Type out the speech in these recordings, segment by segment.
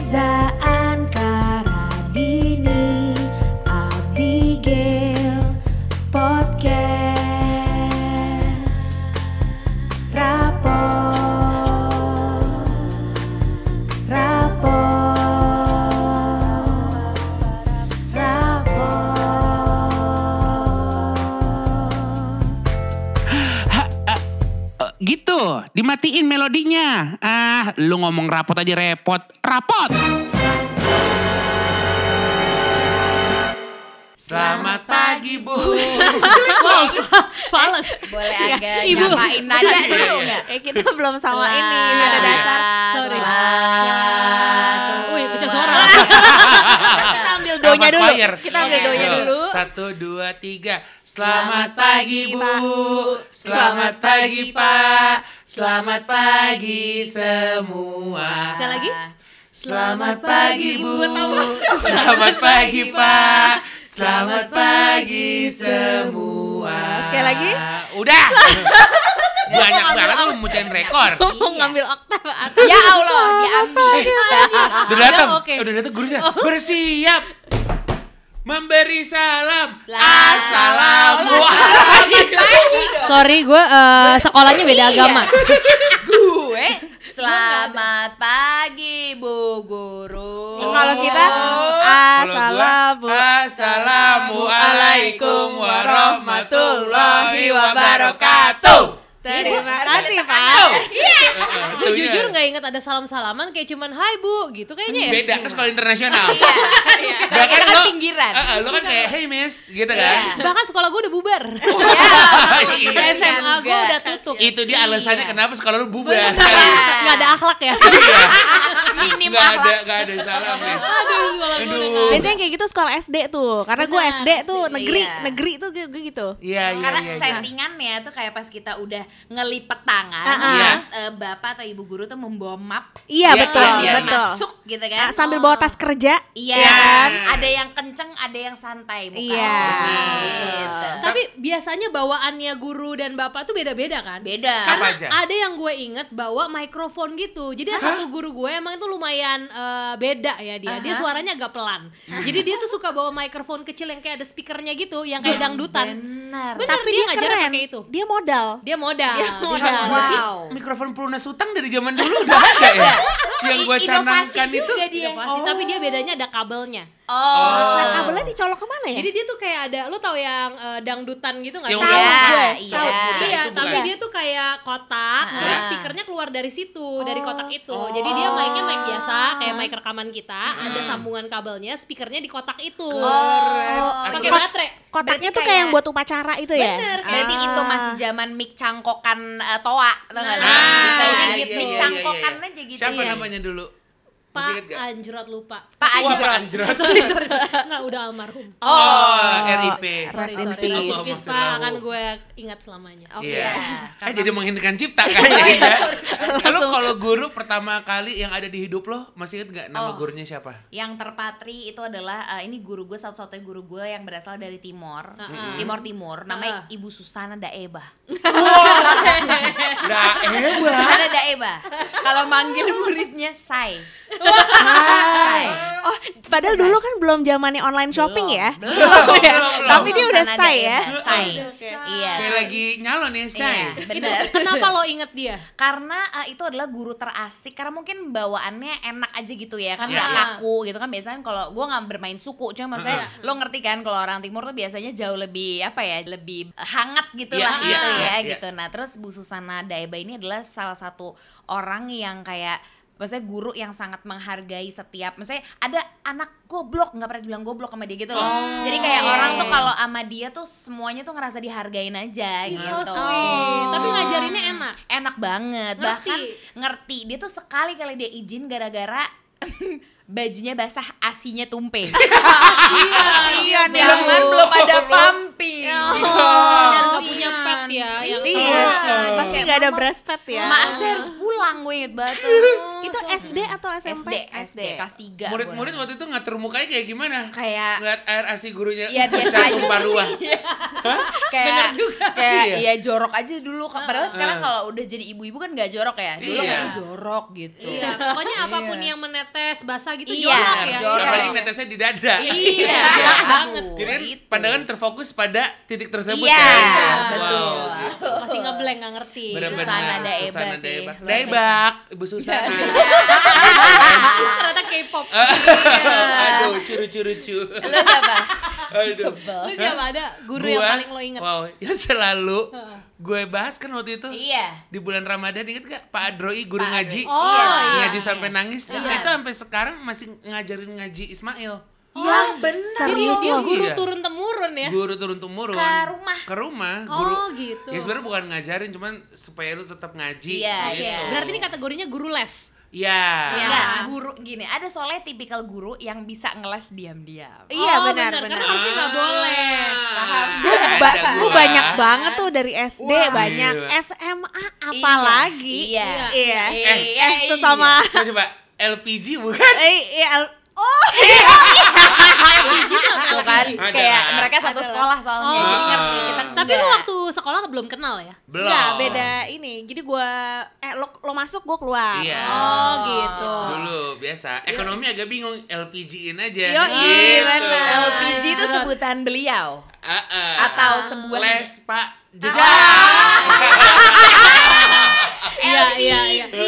Zaan Karadini Abigail Podcast Rapor Rapor Rapor Eh, gitu, dimatiin melodinya. Ah, lu ngomong rapot aja repot. Rapot. Selamat pagi, Bu. Wow, fals. boleh Iya, agak Ibu. nyamain nada dulu nggak? Eh, kita belum sama Selamat, ini nada dasar. Sorry. selamat. Wih, pecah suara. Kita ambil donya Nafas dulu. fire. Kita ambil Iya. donya dulu. Satu, dua, tiga. Selamat pagi, Bu. Selamat pagi, Pak. Selamat pagi semua. Sekali lagi. Selamat pagi Bu, selamat pagi Pak, selamat pagi semua. Sekali lagi? Udah. Banyak banget lu memucahin rekor. Mau Iya. Oh, ngambil oktav Nah, atas. Ya Allah, diambil. Udah datang, Udah, oke. udah datang gurunya. Bersiap. Memberi salam. Selamat- Assalamualaikum. Selamat pagi dong. Sorry, gue eh, sekolahnya beda agama. Iya, Gue selamat pagi Bu Guru. Ya, Kalau kita assalamu. Assalamualaikum warahmatullahi wabarakatuh. Eh, Terima kasih Pak. Gue jujur nggak inget ada salam-salaman kayak cuman hai bu gitu kayaknya ya. beda ke sekolah internasional. Iya. Bahkan Kita kan lo- pinggiran. Eh, eh, lo kan kayak hey miss gitu Iya. kan. Bahkan sekolah gue udah bubar. Iya. SMA gue Enggak. udah tutup. Itu dia alasannya Iya. kenapa sekolah lu bubar. Iya. Gak ada akhlak ya. Minim Gak eh, ada akhlak. gak ada salam ya. Aduh, sekolah gue udah Aduh. Biasanya kayak gitu sekolah SD tuh, karena gue Benar, SD tuh SD. negeri, Iya. negeri tuh gue gue gitu. Iya iya Karena iya, iya. settingannya tuh kayak pas kita udah ngelipet tangan, Ah, ah. terus eh, bapak atau ibu guru tuh membawa map Iya Iya, betul, iya. betul. masuk gitu kan. Nah, sambil bawa tas kerja. Iya, Iya. kan? ada yang kenceng, ada yang santai bukan? Iya. Gitu. Tapi biasanya bawaannya guru dan bapak tuh beda-beda kan? Beda. Apa Karena aja? ada yang gue inget bawa mikrofon gitu. Jadi ada satu guru gue emang itu lumayan eh, beda ya dia. Dia suaranya agak pelan. Jadi dia tuh suka bawa mikrofon kecil yang kayak ada speakernya gitu, yang Iya, kayak dangdutan. Benar. Bener, Tapi dia dia, ngajarin keren. pakai itu. Dia modal. Dia modal. Dia modal. modal. Berarti Wow. Iya, Iya. mikrofon pelunas utang dari zaman dulu udah ada ya. Yang I- gua inovasi canangkan itu. juga dia. Inovasi, Tapi Oh. dia bedanya ada kabelnya. Oh. Nah, kabelnya dicolok kemana ya? Jadi dia tuh kayak ada, lu tau yang eh, dangdutan gitu nggak? Yang sih? udah- Tahu gue. Iya, Tahu. iya. Iya, Itu tapi bukan. dia tuh kayak kotak, Ah. terus speakernya keluar dari situ, dari kotak itu. Jadi dia mic-nya mic biasa, kayak mic rekaman kita, ada sambungan kabelnya, speakernya di kotak itu. Oh, Keren. Pakai Akhirnya- baterai. Kotaknya Berarti tuh kayak kayak- yang buat upacara itu ya? Bener, Berarti Ah. itu masih zaman mic cangkokan eh, toa, tau Ah, gak? Nah, lo? gitu, iya, kan? iya, iya, Mic iya, cangkokan aja gitu. Siapa Iya. namanya dulu? Masih Pak ingat gak? Anjrot lupa. Wah, Pak Pak Anjrot. Anjrot. sorry, sorry, sorry. Nggak, udah almarhum. Oh, Rest in peace. RIP. sorry, sorry. Allahumma Rest in peace, Pak. kan Oh, firlahu. Akan gue ingat selamanya. Oke. Iya. Karena- Eh jadi menghindarkan cipta Oh, kan ya. iya. Ida? Lu kalau guru pertama kali yang ada di hidup lo masih inget nggak nama Oh. gurunya siapa? yang terpatri itu adalah eh, ini guru gue satu-satunya guru gue yang berasal dari Timor, Heeh. Timor Timur, namanya Heeh. Ibu Susana Daeba. Nah, eh Susana Daeba. Kalau manggil muridnya Sai. Oh, padahal dulu kan belum zamannya online shopping ya. Belum. ya? belum, belum. Tapi dia udah Susana say ya. Daeba, Sai. Iya. kayak lagi nyalon ya, Iya, say. Itu bener. kenapa lo inget dia? karena eh, itu adalah guru terasik karena mungkin bawaannya enak aja gitu ya kan Iya. nggak kaku gitu kan biasanya kan kalau gue nggak bermain suku cuma maksudnya lo ngerti kan kalau orang timur tuh biasanya jauh lebih apa ya lebih hangat gitu Iya, lah iya, gitu iya, ya iya. gitu nah terus Bu Susana Daeba ini adalah salah satu orang yang kayak maksudnya guru yang sangat menghargai setiap maksudnya ada anak goblok nggak pernah dibilang goblok sama dia gitu loh Oh. jadi kayak orang tuh kalau sama dia tuh semuanya tuh ngerasa dihargain aja Iya, gitu oh, Iya. So sweet. Tapi ngajarinnya enak. enak banget Ngerti. bahkan ngerti dia tuh sekali kali dia izin gara-gara bajunya basah asinya tumpeng Iya, gitu. nih. zaman belum ada pumping Dan gak Ya, punya pet ya. Yang Iya. Iya. Pasti nggak ada Mama- breast pad ya. mak saya harus pulang gue inget banget tuh. Oh, Itu SD atau SD SMP? SD kelas 3 Murid-murid waktu itu ngatur mukanya kayak gimana? kayak Ngeliat air asi gurunya Iya, biasa pecah aja. tumpah ruah. Iya. kayak kayak Iya. iya jorok aja dulu padahal sekarang kalau udah jadi ibu-ibu kan nggak jorok ya dulu Iya. kayak jorok gitu Iya, pokoknya apapun Iya. yang menetes basah gitu Iya, jorok ya. jorok. Apalagi Iya. netesnya di dada. Iya, Banget. aduh, Jadi kan gitu. pandangan terfokus pada titik tersebut Iya, kan. betul. Wow, gitu. Masih ngeblank nggak ngerti. Benar-benar Susana Daeba Susana sih, Daeba. luar Daebak, Ibu Susana. Iya. Ternyata K-pop. Eh, Aduh, curu-curu-cu. Lu siapa? Aduh. Sebel. Lu siapa ada guru yang Gua- paling lo inget? Wow, yang selalu Heeh. gue bahas kan waktu itu. Iya. Di bulan Ramadan inget gak Pak Adroi guru Pak Adroi. ngaji? Oh, Iya. iya. Ngaji sampai nangis. Nah, Iya. Itu sampai sekarang masih ngajarin ngaji Ismail. Ya, benar. Jadi Serius dia lo? guru Iya. turun temurun ya. Guru turun temurun. Ke rumah. Ke rumah. Guru. Oh gitu. Ya sebenarnya bukan ngajarin, cuman supaya lu tetap ngaji. Iya, gitu. iya. Berarti ini kategorinya guru les. Iya. Iya. Enggak, guru gini, ada soalnya tipikal guru yang bisa ngeles diam-diam. Iya, Oh, benar, Karena benar. Ah. harusnya nggak boleh. Paham. Gue Ada ba- gua. gua banyak banget tuh dari SD Wah. banyak Gila. SMA apalagi Iya. iya Iya. eh sesama iya. Coba, coba. LPG bukan? eh iya Al- Tuh kan, Ada. kayak mereka satu Ada. sekolah soalnya, Oh. jadi ngerti kita. Tapi lu enggak. waktu sekolah belum kenal ya? Belum. Enggak, beda ini jadi gua eh lo, lo masuk gua keluar Iya. Oh gitu. Dulu biasa. Ekonomi agak bingung. LPG-in aja. Gitu. Yoi, benar. LPG itu sebutan beliau Ah, ah. atau sebuah les Pak Jejak. Ah. Iya, iya, iya. LPG.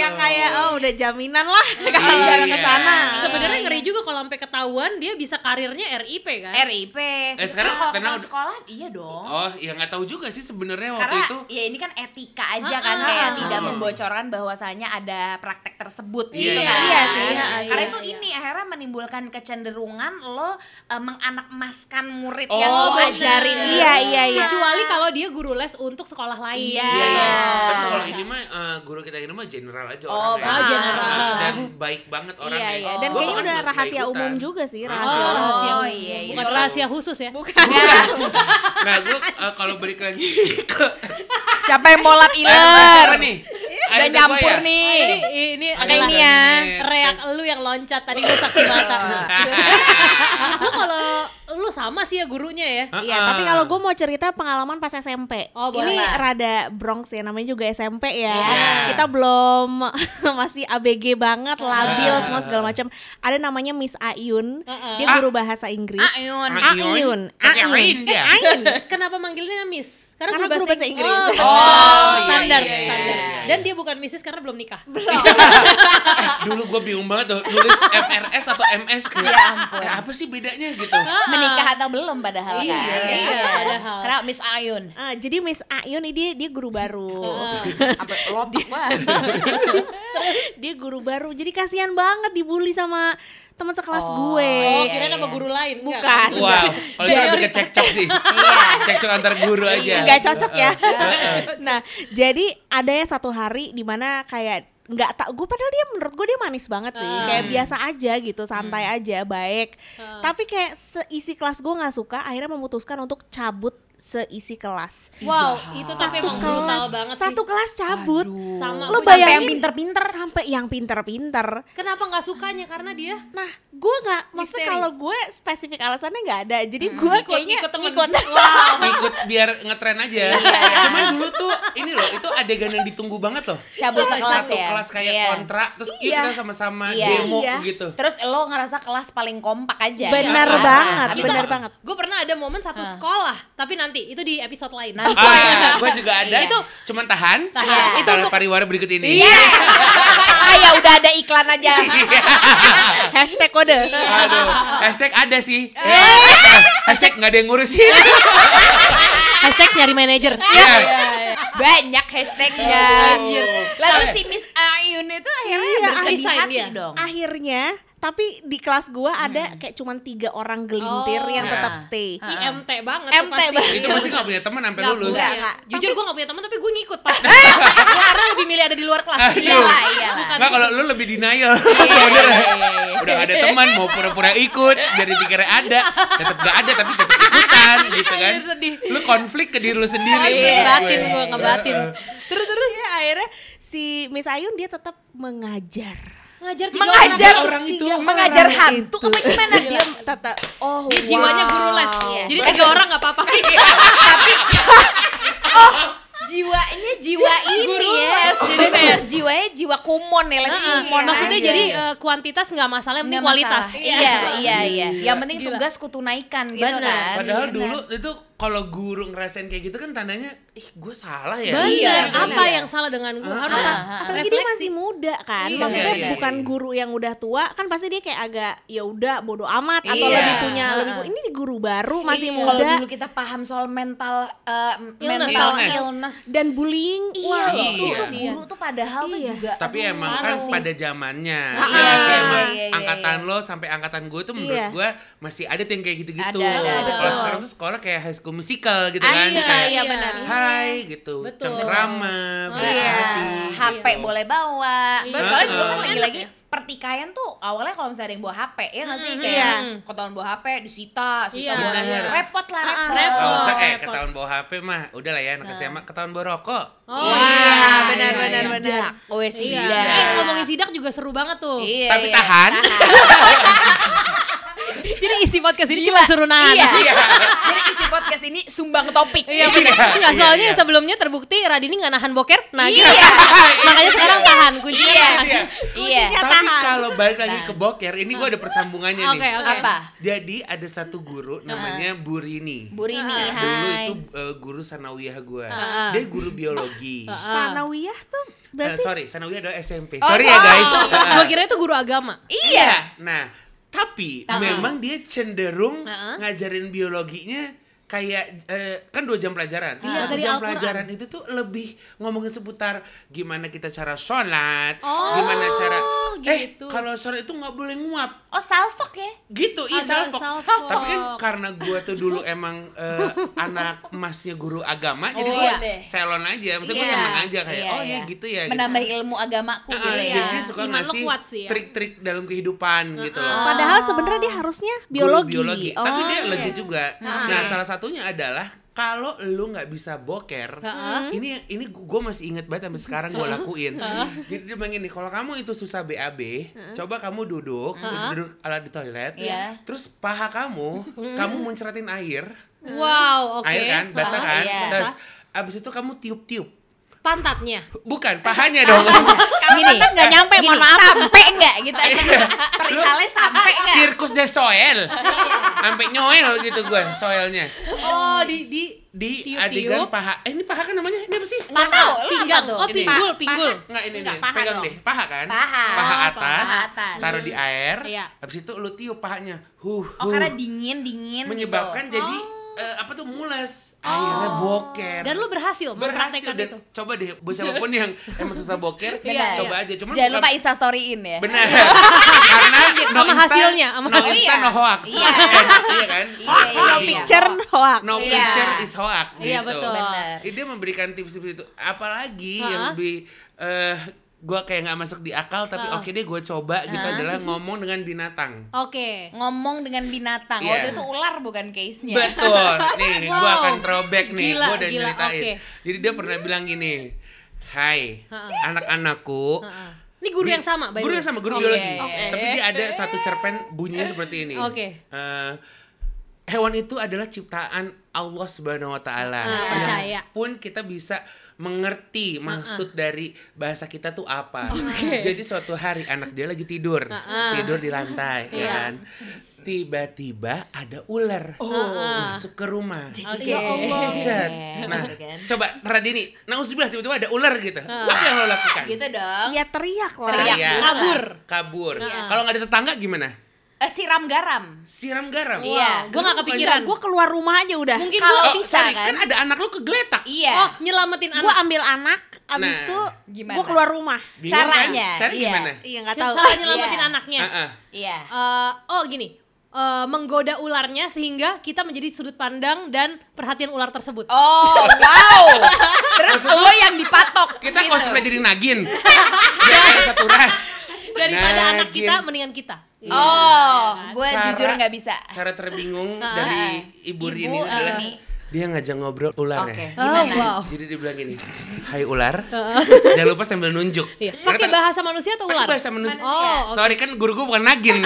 yang kayak oh udah jaminan lah kalau Iya. orang ke sana Sebenarnya ngeri juga kalau sampai ketahuan dia bisa karirnya RIP kan? RIP. Sebenarnya Eh, sekarang tenang kalau ketahuan udah- sekolah iya dong. Oh, ya nggak tahu juga sih sebenarnya waktu Karena itu. ya ini kan etika aja kan Ah, ah, kayak ah. tidak Hmm. membocorkan bahwasanya ada praktek tersebut Iya, gitu iya. kan. Iya sih, iya, Karena iya, itu iya. ini akhirnya menimbulkan kecenderungan lo eh, menganakmaskan murid Oh, yang lo bener. ajarin di Iya, iya, iya. rumah. Kecuali kalau dia guru les untuk sekolah lain. Iya. Iya, iya. Tapi Ah. kalau ini mah eh, guru kita ini mah general aja Oh, orangnya. ah, general. Dan baik banget orangnya. iya iya dan kayaknya gitu. Gua Oh. bahkan udah nggak- nggak rahasia ikutan. umum juga sih Oh, rahasia Oh, umum. rahasia Oh, umum. iya, iya. Bukan Soalnya- rahasia khusus ya. bukan Enggak. Nah, gue kalau balik lagi ke Siapa yang mau lap Apa iler? nih. Ada Udah gua nyampur ya? nih. Ini, ini Ada adalah ini ya. reak lu yang loncat tadi gue saksi mata. lu kalau lu sama sih ya gurunya ya. Iya, tapi kalau gue mau cerita pengalaman pas SMP. Oh, ini boleh. rada bronx ya, namanya juga SMP ya. Iya. Kita belum masih ABG banget, labil Ah. semua segala macam. Ada namanya Miss Ayun, Ah, Heeh. dia guru bahasa Inggris. Ayun. Ayun, Ayun. dia. Kenapa manggilnya Miss? Karena guru bahasa Ing- Inggris. Oh, Oh, iya, standar, iya, iya, standar. iya, iya. Dan dia bukan Mrs karena belum nikah. Dulu gue bingung banget tuh nulis MRS atau MS kayak. Ya ampun. Apa sih bedanya gitu? Menikah atau belum padahal Iya, kan? iya, padahal. Karena Miss Ayun. Ah, jadi Miss Ayun ini dia, dia guru Ah, baru. Oh, Heeh. Apa lobby banget. dia guru baru. Jadi kasihan banget dibully sama teman sekelas Oh, gue. Oh, Iya, kirain iya. sama guru lain. Enggak. Bukan. Wow, kalau itu lebih ke cekcok sih. Iya. Cekcok antar guru Iya, aja. Eh, nggak gitu. cocok Ah, ya. Heeh. nah, jadi ada ya satu hari dimana kayak nggak tak gue padahal dia menurut gue dia manis banget sih Hmm. kayak biasa aja gitu santai aja baik Hmm. tapi kayak seisi kelas gue nggak suka akhirnya memutuskan untuk cabut seisi kelas Wow, itu tapi emang brutal banget sih. satu kelas cabut Sama. Lu bayar- gua- Sampai yang bayangin. pinter-pinter. sampai yang pinter-pinter Kenapa nggak sukanya? Karena dia nah gue nggak maksudnya Misteri. Hmm. kalau gue spesifik alasannya nggak ada jadi gue ikut- kayaknya ikut temen. Wow. Ikut biar ngetren aja. Iya. Cuman dulu tuh ini loh, itu adegan yang ditunggu banget loh. Cabut sekelas Satu ya. kelas kayak Iya. kontrak, terus yuk Iya. kita sama-sama Iya. demo Iya. gitu. Terus lo ngerasa kelas paling kompak aja. ya? Iya. Benar Iya. Nggak apa-apa. banget, Gitu. Habis benar itu- banget. Gue pernah ada momen satu sekolah, tapi nanti itu di episode lain. Ah. Nanti. Ah, gue juga ada Iya. itu, cuman tahan. Tahan. Tahan. Itu Setelah untuk- pariwara berikut ini. Iya. ah ya udah ada iklan aja. Iya. hashtag kode Iya. Aduh, hashtag ada sih. Eh, hashtag nggak ada yang ngurusin. Iya. Hashtag nyari manajer. Iya. Banyak hashtagnya. Anjir. Lalu si Miss Ayun itu akhirnya Iya, bersedih resign hati dia. dong. Hmm. akhirnya tapi di kelas gua ada kayak cuman tiga orang gelintir Oh. yang tetap Nah. stay Ah. MT banget MT tuh pasti. banget. Itu masih nggak punya teman sampai Nggak lulus. punya. Nggak, nggak. Jujur gue gak punya teman tapi gue ngikut pasti. Gue karena lebih milih ada di luar kelas. Aduh. Iyalah, iyalah. Bukan. Ah, iya. Nggak kalau lu lebih denial. Iya, Bener. iya, iya, iya. Udah nggak ada teman mau pura-pura ikut dari pikirnya ada, tetap nggak ada tapi tetap ikutan gitu kan. Anjir, sedih. Lu konflik ke diri lu sendiri. gitu. Iya, menurut ngebatin gue. gue, ngebatin. terus terus ya akhirnya si Miss Ayun dia tetap mengajar Ngajar tiga Mengajar Iya, orang. orang itu. mengajar orang hantu itu. apa gimana? dia tetap oh Dia jiwanya guru les. Iya. Ah, Jadi tiga orang gak apa-apa. Tapi jiwanya jiwa ini ya. les, jadi kayak- jiwanya jiwa kumon ya, les Nah, kumon. maksudnya aja. jadi eh, kuantitas nggak masalah, Iya. yang Nggak penting kualitas. masalah. Iya, iya, iya. Yang penting Gila. tugas kutunaikan gitu Benar. kan. Padahal Iya. dulu itu kalau guru ngerasain kayak gitu kan tandanya, ih gue salah ya. Bener, Iya, apa iya. yang salah dengan gue? Ah, Harus ah, kan ah. Apalagi dia masih muda kan, Iya, maksudnya iya, iya, bukan iya. guru yang udah tua, kan pasti dia kayak agak ya udah bodo amat atau Iya. lebih punya lebih Heeh. ini guru baru masih Iya. muda Kalau dulu kita paham soal mental eh, mental Illness. illness. dan bullying, Iya, wah itu Iya. tuh guru tuh padahal tuh Iya. juga Tapi aduh, emang kan parah sih. pada zamannya, Ah, iya nggak sih, iya, emang iya, iya, angkatan lo sampai angkatan gue tuh menurut Iya. gue masih ada tuh yang kayak gitu-gitu. Ada, ada, ada. Kalau sekarang tuh sekolah kayak high school musical gitu kan, Iya, kayak iya, benar. Hai gitu, Betul. cengkrama, Betul. berhati Iya, hati. HP gitu. boleh bawa. Iya. Soalnya dulu kan Betul. lagi-lagi Enak ya? pertikaian tuh awalnya kalau misalnya ada yang bawa HP ya nggak sih Mhm. kayak Iya. ketahuan bawa HP disita, sita Iya. bawa Benar. repot lah Ah, Oh, repot. Nah. repot. Kalau usah eh repot. ketahuan bawa HP mah, udah lah ya anak SMA ketahuan bawa rokok. Oh Wah, iya, benar, iya, benar, iya. benar. Oh iya, Iya. sidak. Eh ngomongin sidak juga seru banget tuh. Iya, Tapi iya. tahan. Jadi isi podcast ini cuma suruh nahan. Iya. Iya. Jadi isi podcast ini sumbang topik. Iya, Iya, bener. Enggak, iya, soalnya iya. sebelumnya terbukti Radini nggak nahan boker. Nah, Iya. gitu. Makanya sekarang tahan kuncinya. Iya. tahan. Iya. Iya. Tapi kalau balik lagi Tahan. ke boker, ini gue ada persambungannya nih. Oke, oke. Apa? Jadi ada satu guru namanya Burini. Burini, Iya, Dulu hai. itu eh, guru sanawiyah gue. Ah. Dia guru biologi. Panawiyah tuh Eh, berarti sorry, sanawiyah adalah SMP. Oh, sorry ya guys. sorry. Ah. Gua kira itu guru agama. Iya. Nah, tapi Tapi. memang dia cenderung Heeh. ngajarin biologinya kayak eh, kan dua jam pelajaran. Iya, Satu dari jam Al-Quran. pelajaran itu tuh lebih ngomongin seputar gimana kita cara sholat, Oh, gimana cara gitu. eh kalau sholat itu nggak boleh nguap Oh, salfok ya? gitu iya Agak salfok. Ah, salfok. tapi kan karena gue tuh dulu emang eh, anak emasnya guru agama jadi Oh, gue iya. selon aja maksudnya gue Iya. seneng aja kayak Iya, oh ya iya. gitu ya gitu. Menambah ilmu agamaku Nah, gitu jadi ya. dia suka Iman lo ngasih kuat sih ya. Oh, trik-trik dalam kehidupan gitu Nah. loh padahal sebenarnya dia harusnya Guru biologi. biologi Oh. tapi iya. dia legit juga nah salah satunya adalah kalau lu nggak bisa boker Heeh. ini ini gue masih inget banget sampai sekarang gue lakuin jadi dia bilang gini kalau kamu itu susah BAB coba kamu duduk duduk ala di toilet Iya. terus paha kamu kamu muncratin air Wow, oke. air kan basah Ah, kan iya. terus abis itu kamu tiup-tiup Pantatnya. bukan pahanya dong Gini. Kan nggak nyampe, eh, Gini, mohon maaf. sampai enggak gitu Iya. aja. Perisalnya sampai enggak? sirkus de soel Iya. sampai nyoel gitu gue soelnya Oh, di di di Tiup-tiup. adegan paha eh ini paha kan namanya ini apa sih Enggak tahu, lu pinggang. apa tuh? Oh, Ini. pinggul, Paha- pinggul. Enggak ini Enggak, nih, paha pegang dong. deh, paha kan? Paha. Paha Oh, atas, paha atas. taruh di air, Iya. habis itu lu tiup pahanya. Huh, Oh, huh. karena dingin-dingin gitu. Oh. menyebabkan jadi eh, apa tuh mules, akhirnya boker. Dan lu berhasil berhasil mempraktekkan dan itu. coba deh buat siapapun yang emang susah boker, Benar. coba aja. Cuman Iya, Jangan bukan- lupa Isa storyin ya. Benar. Karena no Sama insta, hasilnya, sama- no insta Iya. no hoax. Iya. Kan? Iya kan? Iya, iya, Jadi, iya. Oh. Cern hoak. No Iya. picture is hoax gitu. Iya, betul. Benar. Eh, dia memberikan tips-tips itu apalagi Ha-ha. yang lebih eh gua kayak nggak masuk di akal tapi Ha-ha. oke deh gua coba gitu adalah ngomong dengan binatang Oke. Ngomong dengan binatang. Iya. Waktu itu ular bukan case-nya. betul nih gua Iya. Wow. akan throwback nih Gila, gua udah gila, nyeritain oke. Hmm. jadi dia pernah bilang gini Hai, Ha-ha. anak-anakku. Heeh. Ini guru Bi- yang sama, by the Guru way. yang sama, guru Oke. biologi. Oke. Tapi dia ada satu cerpen bunyinya seperti ini. Oke. Eh, hewan itu adalah ciptaan Allah Subhanahu wa taala. Ah, Yang percaya. Ah, Pun kita bisa mengerti maksud dari bahasa kita tuh apa. Jadi suatu hari anak dia lagi tidur, Ah, ah. tidur di lantai ya Iya. kan. Tiba-tiba ada ular Ah, ah. masuk ke rumah. Oke. Ya Iya, Allah. Set. Nah, Gitu kan. coba Radini, nauzubillah tiba-tiba ada ular gitu. Ah. Apa yang lo lakukan? Gitu dong. Ya teriak lah. Teriak. Kabur. Iya. kabur. Iya. Kalau nggak ada tetangga gimana? Eh, siram garam. Siram garam. Iya. Wow, gua nggak kepikiran. Gue keluar rumah aja udah. Mungkin Kalau gua Oh, bisa sorry, kan? kan? ada anak lu kegeletak. oh, Iya. nyelamatin Gue anak. ambil anak, abis Nah, itu gimana? gue keluar rumah. Bingung kan? Caranya, Cara iya. gimana? Iya nggak tahu. Salah nyelamatin Iya. anaknya. Heeh. Iya. Eh, oh gini, Eh, menggoda ularnya sehingga kita menjadi sudut pandang dan perhatian ular tersebut. Oh, wow. Terus lo yang dipatok. Kita gitu. cosplay jadi nagin. Biar kayak satu ras. Daripada Nagin. anak kita, mendingan kita. Oh, Iya, gue Cara- jujur nggak bisa. Cara terbingung dari ibu Iya. Ibu eh, Rini Rini. adalah dia ngajak ngobrol ularnya. Oke. Oh, Gimana? wow. Jadi dia bilang gini, "Hai ular, jangan lupa sambil nunjuk." Iya. Karena Pakai kan- bahasa Iya. manusia atau pakai ular? bahasa manusia. Oh, oke. Sorry kan guru gue bukan nagin.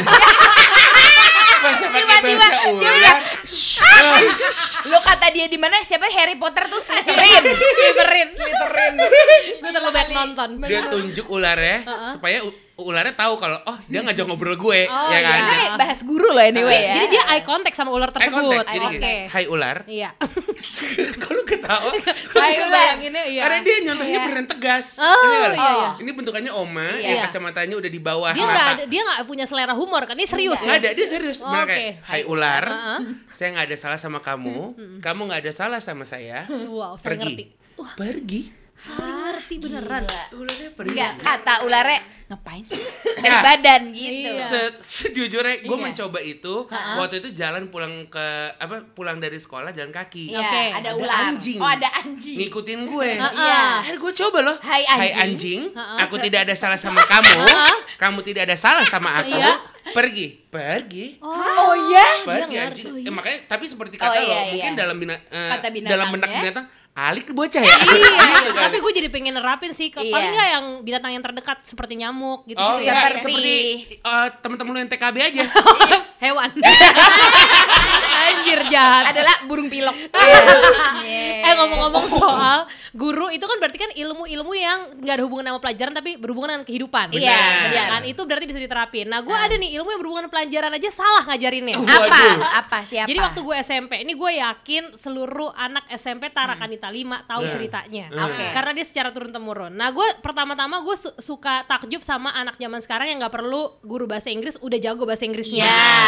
Masa pakai Tiba-tiba iya. bahasa dia ular? Lo kata dia di mana? Siapa Harry Potter tuh Slytherin. Slytherin, Slytherin. Gue terlalu banyak nonton. Dia tunjuk ularnya supaya u- ularnya tahu kalau oh dia ngajak ngobrol gue, Oh, ya kan? Kita kayak bahas guru loh anyway ya. Iya. Jadi dia eye contact sama ular Eye tersebut. contact, jadi Oke. gini, hai ular. Iya. Kalau ketawa, Hai, Gue Ulan. bayanginnya iya. karena dia nyontohnya Iya. beneran tegas. Oh, Ini kan? iya, iya. Ini bentukannya oma, Iya. yang kacamatanya udah di bawah Dia mata. nggak ada- dia nggak punya selera humor kan? Ini serius Nggak ya. ada, dia serius. Oh, Bener oke. kayak, hai ular, Heeh. saya nggak ada salah sama kamu, kamu nggak ada salah sama saya. Wow, saya ngerti. Pergi. Pergi. Saling ngerti beneran. Ularnya pergi. Enggak, kata ularnya ngapain sih? Dari Nah. badan gitu. Iya. Se- sejujurnya gue Iya. mencoba itu waktu itu jalan pulang ke apa pulang dari sekolah jalan kaki Iya, Oke. ada Ada ular. anjing. Oh, ada anjing. ngikutin gue Heeh. Iya. Eh, gue coba loh. Hai, anjing. Ha-ha. aku tidak ada salah sama kamu. kamu tidak ada salah sama aku. Iya. Pergi, pergi. Oh iya. Pergi ngerti. anjing. Oh, Eh, makanya tapi seperti Oh, kata lo, iya, mungkin iya. dalam bina- eh, Kata binatangnya. dalam benak binatang alik bocah ya. Iya, Gitu kan. tapi gue jadi pengen nerapin sih. Ke, Iya. Paling nggak yang binatang yang terdekat seperti nyamuk gitu. Oh, gitu iya, ya. seperti, eh, teman-teman lu yang TKB aja. Hewan. Anjir jahat. Adalah burung pilok. Iya. Eh ngomong-ngomong soal guru itu kan berarti kan ilmu-ilmu yang nggak ada hubungan sama pelajaran tapi berhubungan dengan kehidupan. Iya, Benar. benar. Kan itu berarti bisa diterapin. Nah, gue ada nih ilmu yang berhubungan dengan pelajaran aja salah ngajarinnya. Uh. Apa? Waduh. Apa siapa? Jadi waktu gue SMP, ini gue yakin seluruh anak SMP Tarakanita 5 tahu Hmm. ceritanya. Hmm. Oke. Karena dia secara turun-temurun. Nah gue pertama-tama gue su- suka takjub sama anak zaman sekarang yang gak perlu guru bahasa Inggris udah jago bahasa Inggrisnya. Iya.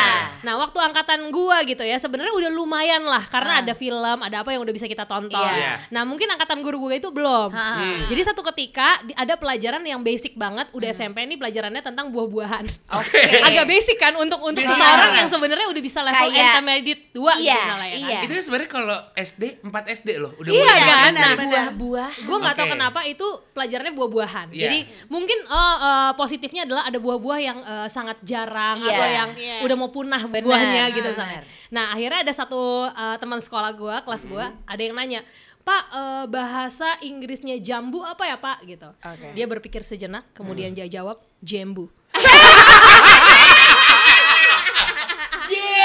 Nah waktu angkatan gue gitu ya sebenarnya udah lumayan lah karena ada film, ada apa yang udah bisa kita tonton. Ah. Iya. Ah. Nah mungkin angkatan guru gue itu belum. Ha-ha. Hmm. Jadi satu ketika di- ada pelajaran yang basic banget udah SMP ini pelajarannya tentang buah-buahan. Hmm. Oke. Agak basic kan untuk untuk Basic seseorang banget. yang sebenarnya udah bisa level Kayak- intermediate 2 Iya, gitu lah ya kan. iya. Itu sebenarnya kalau SD 4 SD loh, udah Iya, mulai kan? diajarin. Nah, Buah-buah. Gue nggak tahu Oke. kenapa itu pelajarannya buah-buahan. Iya. Jadi mungkin oh, eh, positifnya adalah ada buah-buah yang eh, sangat jarang Iya. atau yang Iya. udah mau punah Benar, buahnya gitu benar. misalnya. Nah akhirnya ada satu eh, teman sekolah gue, kelas Mm-hmm. gue, ada yang nanya. Pak, eh, bahasa Inggrisnya jambu apa ya pak? gitu. Oke. Dia berpikir sejenak, kemudian Mm. dia jawab jambu.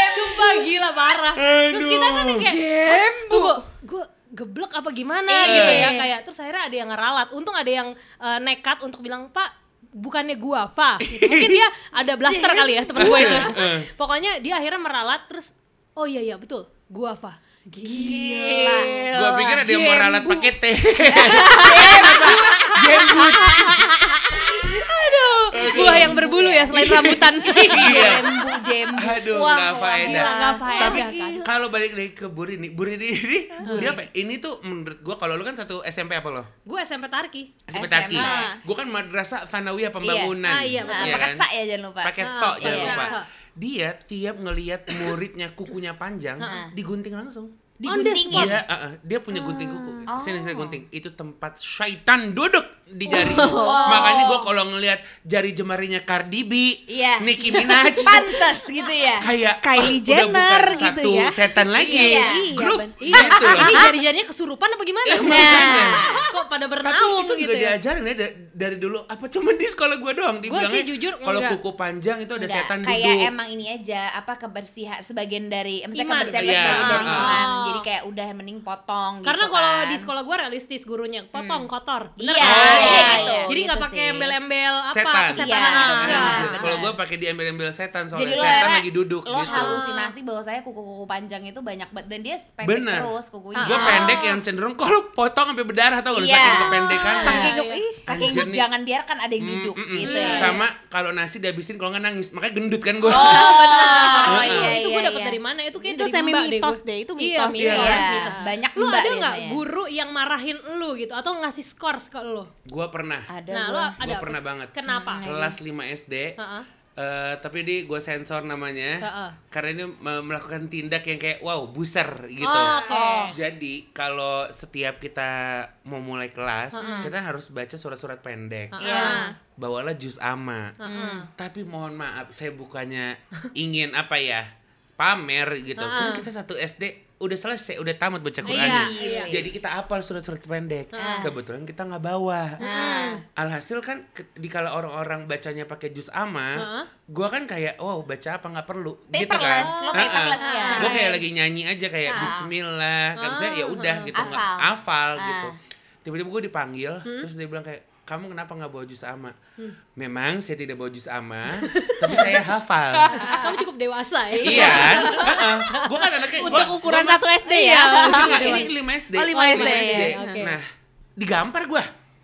Sumpah gila parah. Terus kita kan yang kayak Tunggu, gue geblek apa gimana Iya. gitu ya kayak terus akhirnya ada yang ngeralat. Untung ada yang eh, nekat untuk bilang, "Pak, bukannya gua, Pak." Gitu. Mungkin dia ada blaster kali ya temen gue itu. Pokoknya dia akhirnya meralat terus oh iya iya betul, gua, Gitu. Pak. Gila. Gua pikir ada yang mau ralat Jembu. pakai teh. Eh, Buah yang berbulu ya selain rambutan. Iya. Jembu, jembu. Aduh, Wah, nggak wah, faedah. Gila wah. enggak faedah kan. Kalau balik lagi ke Burini, Burini ini Hmm. dia apa? ya? Ini tuh menurut gua kalau lu kan satu SMP apa lo? Gue SMP Tarki. SMP SMA. Tati. Gua kan madrasah Sanawiyah Pembangunan. Ah, iya, betul. Nah, Iya pakai kan? sa ya jangan lupa. Pakai Ah, sok jangan iya. lupa. Sok. Dia tiap ngelihat muridnya kukunya panjang, digunting langsung. Diguntingin. Iya, Hmm. heeh. dia punya gunting kuku. Oh. Sini saya gunting. Itu tempat syaitan duduk di jari. Makanya gua kalau ngelihat jari jemarinya Cardi B, Iya. Nicki Minaj, Pantes gitu ya. kayak Kylie udah Jenner bukan gitu satu ya. setan lagi Iya, iya, grup ben- Iya, gitu loh. ini jari-jarinya kesurupan apa gimana? makanya. Kok pada tapi bernaung itu juga gitu ya? diajarin ya da- dari dulu apa cuman di sekolah gua doang dibilangnya sih jujur kalau enggak. kuku panjang itu ada Enggak, setan kayak duduk emang ini aja apa kebersihan sebagian dari misalnya Iman. kebersihan Iya. sebagian dari Ah. iman jadi kayak udah mending potong Karena gitu kalau kan. di sekolah gue realistis gurunya potong kotor. Oh, iya, kan? iya iya. gitu Jadi nggak gitu pakai sih. embel-embel apa setan kesetanan. Iya, Ah, benar. enggak. Iya. kalau gua pakai diambil-ambil setan jadi soalnya lo setan era, lagi duduk lo gitu halusinasi bahwa saya kuku-kuku panjang itu banyak banget dan dia pendek Bener. terus kukunya Ah, gua pendek yang cenderung kalau potong sampai berdarah tau gak lu saking Ah. Iya. kependekannya Saking- Iya. ih, saking Anjir nih. jangan biarkan ada yang Mm, duduk mm, mm. gitu ya sama kalau nasi dihabisin kalau nggak nangis makanya gendut kan gua oh iya itu gue iya, dapat iya. dari mana? Itu kayak Itu dari mbak deh semi-mitos gua. deh, itu Iya, mitos. mitos. Iya, mitos. banyak Lu mbak ada nggak biasanya. guru yang marahin lu gitu atau ngasih skors ke lu? gua pernah ada Nah, iya. Nah, lu gua. ada apa? pernah banget. Kenapa? kelas 5 SD Heeh. Eh, tapi ini gue sensor namanya Heeh. karena ini me- melakukan tindak yang kayak wow buser gitu. Oh, oke. Eh, Jadi kalau setiap kita mau mulai kelas kita harus baca surat-surat pendek. Heeh. Iya. Bawalah jus ama. Tapi mohon maaf saya bukannya ingin apa ya pamer gitu. Karena kita satu SD udah selesai, udah tamat baca Quran. Iya, iya. Jadi kita hafal surat-surat pendek. Ah. Kebetulan kita nggak bawa. Nah, Alhasil kan ke- di kala orang-orang bacanya pakai jus Heeh. ama, gua kan kayak wow baca apa nggak perlu gitu kan. paperless, Ah, lo ah. paperless ya. Gue kayak lagi nyanyi aja kayak Ah. Bismillah, kan saya ya udah gitu nggak Hafal. hafal Ah. gitu. Tiba-tiba gue dipanggil, terus dia bilang kayak kamu kenapa nggak bawa jus ama? Memang saya tidak bawa jus ama, tapi saya hafal. Ah, Kamu cukup dewasa ya. iya kan? Gue kan anaknya Untuk gua- ukuran gua- satu SD ya. Enggak, enggak, ini 5 SD. Oh, lima Lima SD, oke. Nah, digampar gue.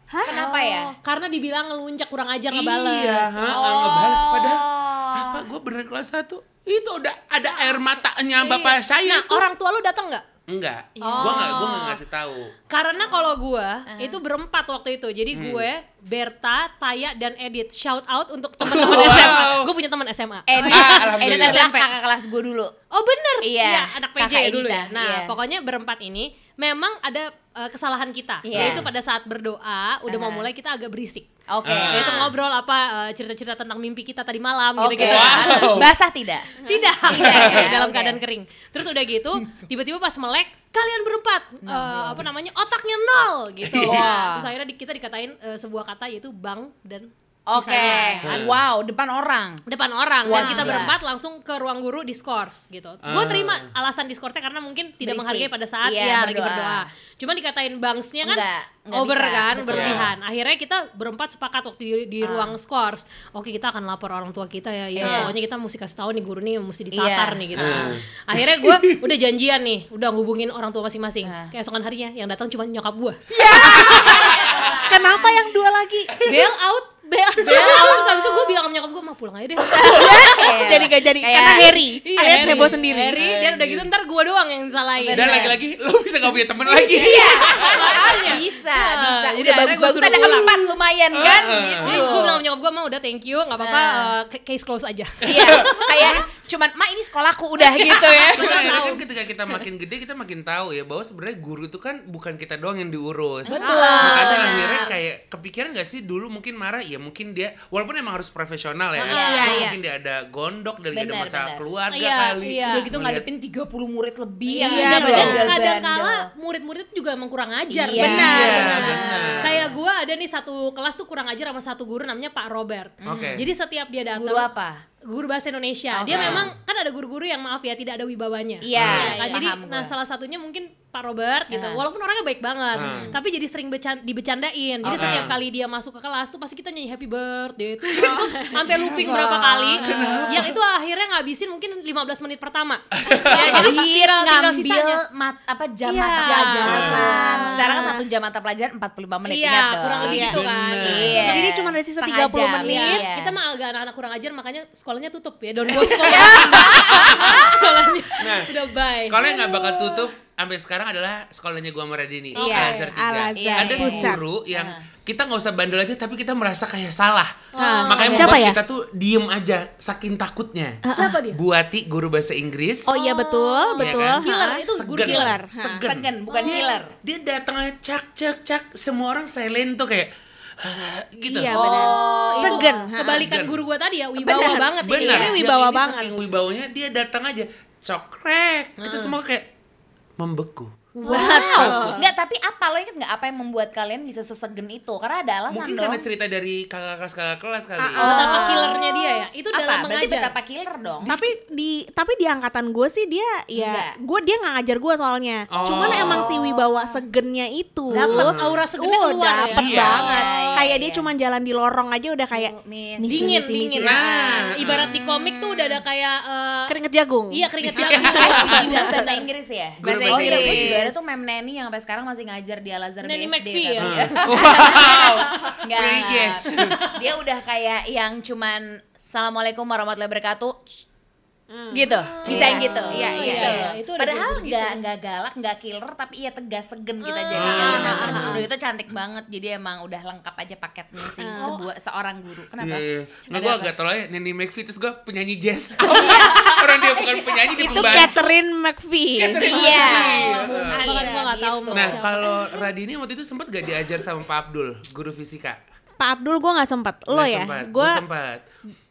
Kenapa ya? Karena dibilang ngelunjak kurang ajar Iya, ngebales. heeh, ngebales padahal Oh. apa gue bener kelas 1 itu udah ada air matanya bapak saya Nah, tuh. orang tua lu datang nggak? enggak Oh. gue nggak gue nggak ngasih tahu Karena kalau gua Uh-huh. itu berempat waktu itu. Jadi gue Berta, Taya dan Edit. Shout out untuk teman-teman Wow. SMA. Gue punya teman SMA. Edit, Ah, edit alhamdulillah. adalah kakak kelas gue dulu. Oh bener, Iya, anak kakak PJ dulu Edita, ya. Nah, iya. pokoknya berempat ini memang ada eh, kesalahan kita. Iya. Uh-huh. Yaitu pada saat berdoa, udah mau Aha. mulai kita agak berisik. Oke. Ah. Yaitu ngobrol apa eh, cerita-cerita tentang mimpi kita tadi malam Oke. gitu kan. gitu-gitu. Wow. Basah tidak? Tidak, Tidak ya, dalam oke. keadaan kering. Terus udah gitu, tiba-tiba pas melek, kalian berempat Nah, iya. eh, apa namanya otaknya nol gitu. Wah. Terus akhirnya di- kita dikatain eh, sebuah kata yaitu bang dan Oke. misalnya. Wow, depan orang. depan orang Wah. iya. dan kita Gila. berempat langsung ke ruang guru diskors gitu. Ah. Gue terima alasan diskorsnya karena mungkin tidak Berisik. menghargai pada saat Iya, berdoa. ya lagi berdoa. Cuman dikatain bangsnya kan Enggak, enggak over bisa, kan betul. Ah. berlebihan. Akhirnya kita berempat sepakat waktu di, di ruang skors. Oke kita akan lapor orang tua kita ya. Ya Iya. pokoknya kita mesti kasih tahu nih guru nih mesti ditatar Iya. nih gitu. Ah. Akhirnya gue udah janjian nih, udah ngubungin orang tua masing-masing. Ah. Keesokan harinya yang datang cuma nyokap gue. Kenapa yang dua lagi? Bail out, bail, bail out. Terus habis itu gue bilang sama nyokap gue, mah pulang aja deh. Iya. jadi gak jadi Kayak- karena Harry Iya, alias Harry. heboh sendiri. Harry, dan udah gitu ntar gue doang yang disalahin. dan Bener. lagi-lagi lo bisa gak punya temen lagi Iya. bisa, bisa. jadi Udah akhirnya bagus gua bagus suruh ada pulang. keempat lumayan kan Heeh. gitu. Gue bilang sama nyokap gue mau udah thank you, gak apa-apa, Nah. eh, case close aja. Iya, kayak cuman ma ini sekolahku udah gitu ya. Cuma akhirnya kan ketika kita makin gede kita makin tahu ya bahwa sebenarnya guru itu kan bukan kita doang yang diurus. Betul. Makanya Benar. akhirnya kayak kepikiran gak sih dulu mungkin marah ya mungkin dia walaupun emang harus profesional ya. Iya, Cuma iya. mungkin dia ada gondok dari ada Benar, masalah benar. keluarga Iya, kali. iya. Udah gitu Melihat- ngadepin 30 murid lebih Iya, yang Iya, dan bener. bandel-bandel. kadang- kadang-kala murid-murid juga emang kurang ajar. Iya, Benar, Iya, benar. benar. Kayak gue ada nih satu kelas tuh kurang ajar sama satu guru namanya Pak Robert. Oke. Jadi setiap dia datang, Guru apa? guru bahasa Indonesia. Dia Oke. memang kan ada guru-guru yang maaf ya tidak ada wibawanya. Iya, kan? iya, Jadi paham nah gua. salah satunya mungkin Pak Robert gitu. Ah. Walaupun orangnya baik banget, Hmm. tapi jadi sering becan- dibecandain. Jadi Oke. setiap kali dia masuk ke kelas tuh pasti kita nyanyi happy birthday tuh gitu. Iya. sampai looping berapa kali. Yang itu akhirnya ngabisin mungkin 15 menit pertama. ya, jadi Anjir, tinggal, tinggal ngambil sisanya. mat, apa jam Iya. mata pelajaran. Ah. Secara kan satu jam mata pelajaran 45 menit Iya, ingat dong. kurang lebih Iya. gitu kan. Iya. Jadi ini cuma ada sisa Setengah 30 jam. menit. Iya, Iya. kita mah agak anak-anak kurang ajar makanya sekolahnya tutup ya. Don Bosco. sekolahnya Nah, udah bye. Sekolah yang gak gitu. bakal tutup sampai sekarang adalah sekolahnya gua sama Radini, Iya, Al-Azhar tiga. Al-Azhar Ada pusat. guru yang kita nggak usah bandel aja tapi kita merasa kayak salah. Ah. Makanya Siapa membuat ya? kita tuh diem aja saking takutnya. Siapa dia? Bu Ati guru bahasa Inggris. Oh iya betul, Iya betul. kan? Killer, Ha. itu guru Segen. killer. Ha. Segen. Segen, bukan killer. Dia datang aja cak cak cak semua orang silent tuh kayak "Hah," gitu. Iya, Oh, benar. Oh, itu Segen, ha. Kebalikan Segen. guru gua tadi ya, wibawa banget itu benar. Ini Yang wibawa ini banget. Hmm. Saking wibawanya dia datang aja cokrek. Kita semua kayak membeku. Wow. Enggak, tapi apa lo inget nggak apa yang membuat kalian bisa sesegen itu? Karena ada alasan Mungkin dong. Ah, karena cerita dari kakak kelas kakak kelas kali. Betapa killernya dia ya. Itu apa? dalam Berarti mengajar. Iya, betapa killer dong. Tapi di tapi di angkatan gue sih dia Enggak. ya gue dia nggak ngajar gue soalnya. Oh. Cuman emang si wibawa segennya itu. Dapat aura segennya Oh, keluar ya. dapet Iya. banget. Iya, iya, kayak dia iya. cuman jalan di lorong aja udah kayak Oh, miss. Nih, Dingin, Misi, misi, dingin. misi. Nah. Ibarat di komik tuh udah ada kayak eh, keringet jagung. iya keringet jalan. Eh, Guru bahasa Inggris ya? Guru oh bahasa iya, gue Inggris. juga ada tuh Mem Neni yang sampai sekarang masih ngajar di Al Azhar Neni BSD. McPhee tapi- ya? Wow. Enggak. Religious. Dia udah kayak yang cuman Assalamualaikum warahmatullahi wabarakatuh. Gitu, bisa yang gitu. Hmm. Iya, iya, gitu. iya. Itu udah Padahal gitu-gitu. nggak nggak galak, nggak killer, tapi iya tegas segen kita Hmm. jadinya. Ah. Nah, ah, ah. Udah gitu cantik banget. Jadi emang udah lengkap aja paketnya sih Hmm. sebuah seorang guru. Kenapa? Iya, iya. Nah, Ada gue apa? agak tolol ya, Neni McPhee terus gue penyanyi jazz Orang dia bukan penyanyi, Oh, dia iya. Itu pembantu Catherine McVie. Catherine Iya. McPhee. Bukan, Bukan, gua nggak tahu, Nah, gitu. Mbak. Nah, kalau Radini waktu itu sempat gak diajar sama Pak Abdul, guru fisika Pak Abdul gue nggak sempet lo Nggak ya sempat, gue nggak sempat.